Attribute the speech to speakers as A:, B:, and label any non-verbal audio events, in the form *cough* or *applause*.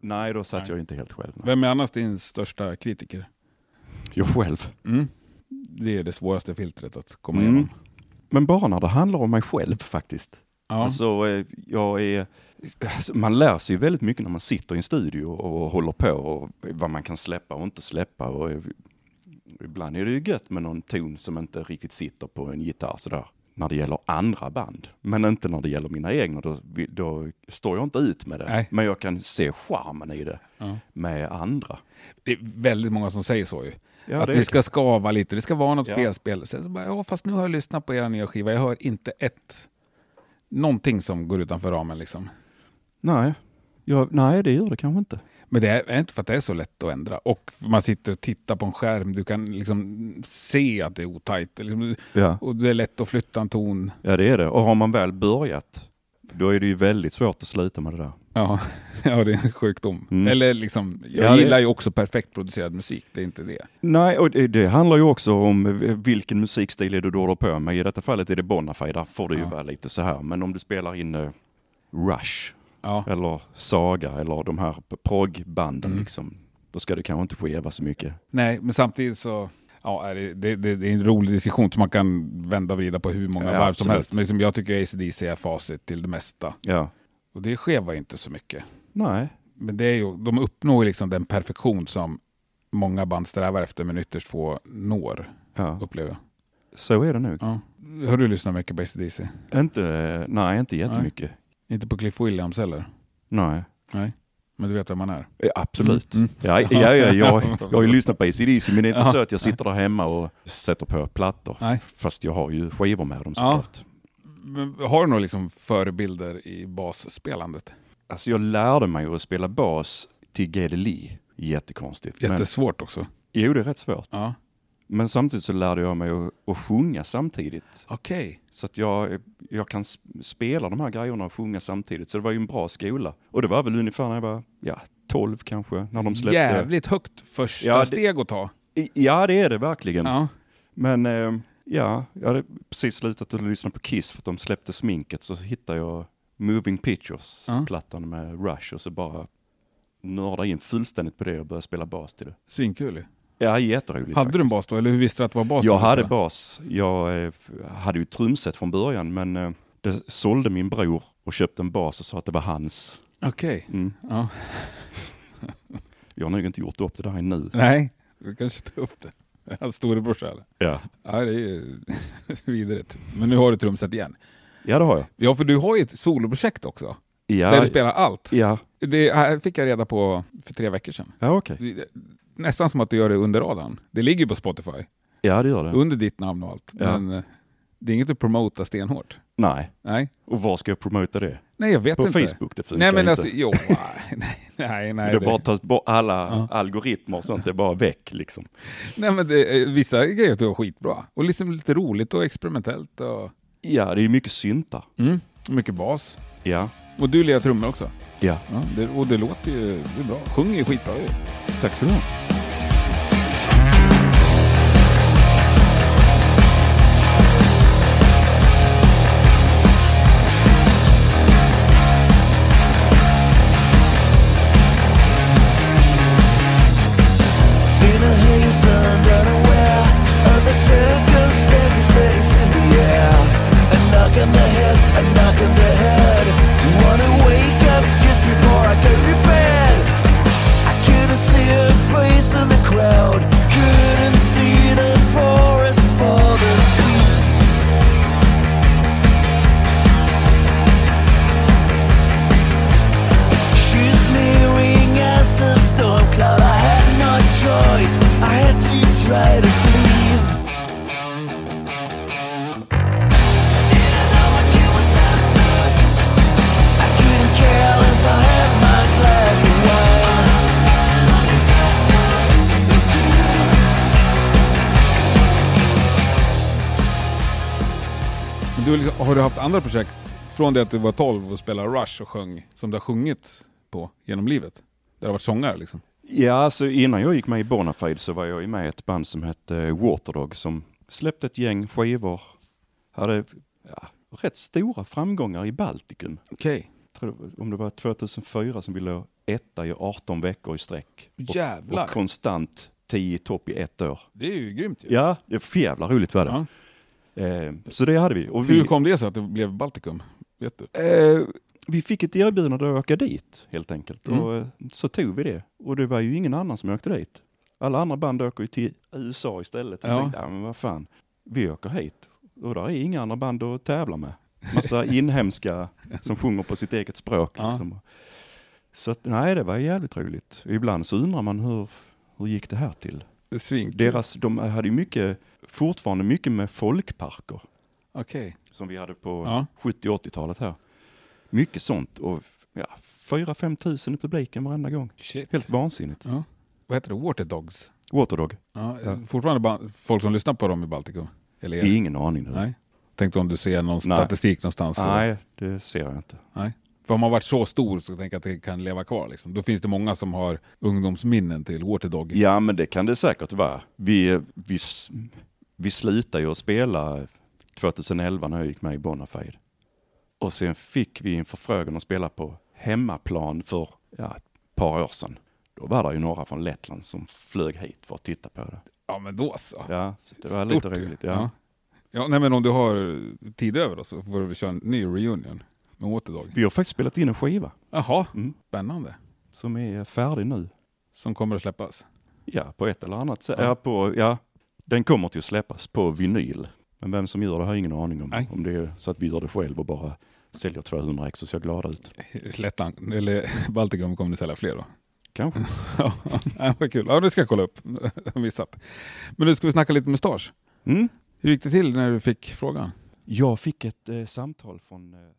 A: Nej, då satt
B: Nej.
A: jag inte helt själv. Nej.
B: Vem är annars din största kritiker?
A: Jag själv.
B: Det är det svåraste filtret att komma
A: Mm.
B: igenom.
A: Men bara när det handlar om mig själv faktiskt.
B: Ja.
A: Alltså, eh, jag är... alltså, Man lär sig ju väldigt mycket när man sitter i en studio och håller på och vad man kan släppa och inte släppa. Och eh, ibland är det ju gött med någon ton som inte riktigt sitter på en gitarr sådär. När det gäller andra band, men inte när det gäller mina egna. Då, vi- då står jag inte ut med det.
B: Nej.
A: Men jag kan se charmen i det
B: Ja.
A: med andra.
B: Det är väldigt många som säger så ju.
A: Ja,
B: att
A: det
B: det,
A: är
B: ska skava lite, det ska vara något
A: Ja.
B: felspel. Sen så bara, ja fast nu har jag lyssnat på era nya skiva, jag hör inte ett, någonting som går utanför ramen liksom.
A: Nej, jag, nej det gör det kanske inte.
B: Men det är inte för att det är så lätt att ändra. Och man sitter och tittar på en skärm, du kan liksom se att det är otajt. Liksom,
A: Ja.
B: och det är lätt att flytta en ton.
A: Ja, det är det. Och har man väl börjat, då är det ju väldigt svårt att sluta med det där.
B: Ja, *laughs* ja det är en sjukdom.
A: Mm.
B: Eller liksom, jag
A: Ja, det-
B: gillar ju också perfekt producerad musik, det är inte det.
A: Nej, och det, det handlar ju också om eh, vilken musikstil är det du håller på med. I detta fallet är det Bonafide, där får det ju
B: Ja.
A: vara lite så här. Men om du spelar in eh, Rush
B: Ja,
A: eller Saga eller de här p- proggbanden
B: Mm.
A: liksom, då ska du kanske inte skeva så mycket.
B: nej, men samtidigt så Ja, är det, det, det, det är en rolig diskussion som man kan vända och vrida på hur många
A: Ja,
B: varv som
A: absolut.
B: helst. Men som jag tycker ACDC är facit till det mesta.
A: Ja.
B: Och det skevar ju inte så mycket.
A: Nej.
B: Men det är ju, de uppnår ju liksom den perfektion som många band strävar efter men ytterst få når,
A: Ja.
B: upplever jag.
A: Så är det nog.
B: Ja. Har du lyssnat mycket på ACDC?
A: Inte, eh, nej, inte jättemycket.
B: Inte på Cliff Williams heller?
A: Nej.
B: Men du vet vem man är?
A: Eh, Absolut.
B: Mm.
A: Ja, ja, ja, jag, jag har ju lyssnat på ACDC men det är inte
B: Ja.
A: så att jag sitter där hemma och sätter på plattor.
B: Nej.
A: Fast jag har ju skivor med dem
B: Ja.
A: såklart.
B: Men Har du några liksom förebilder i basspelandet?
A: Alltså jag lärde mig att spela bas till Gedde Lee. Jättekonstigt. Men,
B: Jättesvårt också.
A: jo, det är rätt svårt.
B: Ja.
A: Men samtidigt så lärde jag mig att, att sjunga samtidigt.
B: Okej.
A: Så att jag, jag kan s- spela de här grejerna och sjunga samtidigt. Så det var ju en bra skola. Och det var väl ungefär när jag var ja, 12 kanske, när de släppte.
B: Jävligt högt första
A: Ja, det- Mm.
B: steg att ta.
A: I- Ja, det är det verkligen.
B: Ja.
A: Men eh, ja, jag hade precis slutat att lyssna på Kiss för att de släppte sminket så hittade jag Moving Pictures,
B: Ja.
A: plattan med Rush och så bara nördade in fullständigt på det och började spela bas till det.
B: Svinkul ju.
A: Ja, jätteroligt.
B: Hade
A: faktiskt.
B: du en bas då, eller hur visste du att det var bas?
A: Jag
B: du
A: hade
B: spelade?
A: bas. Jag eh, f- hade ju trumset från början men eh, det sålde min bror och köpte en bas och sa att det var hans.
B: Okej.
A: Mm.
B: Ja.
A: *laughs* Jag har nog inte gjort upp det där ännu.
B: Nej, du kanske tar upp det. *laughs* Hans storebrorsa eller?
A: Ja,
B: Ja, det är ju *laughs* vidrigt. Men nu har du trumset igen.
A: ja det har jag.
B: Ja, för du har ju ett soloprojekt också, där
A: Ja,
B: du spelar allt.
A: ja.
B: Det här fick jag reda på för tre veckor sedan.
A: ja okej.
B: Det- Nästan som att du gör det under radarn. Det ligger ju på Spotify,
A: Ja, det gör det.
B: under ditt namn och allt.
A: Ja.
B: Men eh, det är inget att promota stenhårt.
A: Nej.
B: Nej,
A: Och var ska jag promota det?
B: nej jag vet
A: På
B: inte.
A: Facebook, det funkar
B: Nej men
A: inte.
B: alltså,
A: *laughs*
B: jo, nej, nej, nej.
A: det bara tas bort, alla
B: Ja.
A: algoritmer och sånt är bara väck liksom.
B: nej men det, eh, vissa grejer du var skitbra. Och liksom lite roligt och experimentellt och
A: Ja, det är mycket syntar.
B: mm. mycket bas.
A: Ja.
B: Och du lirar trummor också.
A: Ja.
B: Ja, det, och det låter ju det är bra. Sjunger ju skitbra ju.
A: Tack så du ha.
C: In a haze, unaware of the circumstances that is in the air. And
B: Men du, har liksom- har du haft andra projekt från det att du var 12 och spelade Rush och sjöng, som du har sjungit på genom livet? Där du har varit sångare liksom?
A: Ja, alltså innan jag gick med i Bonafide så var jag med i ett band som hette eh, Waterdog som släppte ett gäng skivor. Hade ja, rätt stora framgångar i Baltikum.
B: Okej.
A: Tror det var- Om det var 2004 som vi låg etta i 18 veckor i sträck. Och,
B: Jävlar!
A: och konstant 10 i topp i ett år.
B: det är ju grymt ju.
A: Ja, det var för jävla roligt var det.
B: Ja.
A: Eh, så det hade vi. Och vi,
B: Hur kom det sig att det blev Baltikum? Vet du?
A: eh, vi fick ett erbjudande att åka dit helt enkelt.
B: Mm.
A: Och eh, så tog vi det. Och det var ju ingen annan som åkte dit. Alla andra band åker ju till USA istället. Jag
B: Ja.
A: tänkte, ja men vad fan, vi åker hit. Och där är inga andra band att tävla med. Massa *laughs* inhemska som sjunger på sitt eget språk.
B: Ja.
A: Liksom. Så att, nej, det var jävligt roligt. Ibland så undrar man hur, hur gick det här till?
B: Det är svinkul.
A: Deras, de hade ju mycket, fortfarande mycket med folkparker
B: Okej.
A: som vi hade på
B: Ja.
A: 70-80-talet här. Mycket sånt och ja, 4-5 tusen i publiken varenda gång.
B: Shit.
A: Helt vansinnigt.
B: Ja. Vad heter det? Water Dogs?
A: Waterdog?
B: Ja,
A: Ja.
B: Fortfarande ba- folk som lyssnar på dem i Baltikum? Eller er?
A: Ingen aning. Nu.
B: Nej. Tänkte om du ser någon
A: Nej.
B: statistik någonstans?
A: Nej, det ser jag inte.
B: Nej. För om man varit så stor så tänker jag att det kan leva kvar. Liksom. Då finns det många som har ungdomsminnen till Waterdog.
A: Ja, men det kan det säkert vara. Vi, vi, s- vi slutade ju att spela 2011 när jag gick med i Bonafide. Och sen fick vi en förfrågan att spela på hemmaplan för ja, ett par år sedan. Då var det ju några från Lettland som flög hit för att titta på det.
B: Ja men då så.
A: Ja, så det var
B: Stort
A: lite
B: ju.
A: roligt. Ja.
B: ja. Ja, nej, men om du har tid över då, så får vi köra en ny reunion med Waterdog.
A: Vi har faktiskt spelat in en skiva
B: Jaha,
A: Mm.
B: spännande.
A: som är färdig nu.
B: Som kommer att släppas.
A: Ja, på ett eller annat sätt.
B: Ja.
A: Ja. på, ja, den kommer till att släppas på vinyl. Men vem som gör det har jag ingen aning om.
B: Nej.
A: Om det är så att vi gör det själv och bara säljer 200 ex och ser glada ut.
B: Lettland, eller *laughs* Baltikum kommer ni sälja fler då?
A: Kanske.
B: *laughs* Ja, ja, vad kul. Ja, det ska jag kolla upp. *laughs* Missat. Men nu ska vi snacka lite mustasch.
A: Mm.
B: Hur gick det till när du fick frågan?
A: Jag fick ett eh, samtal från eh,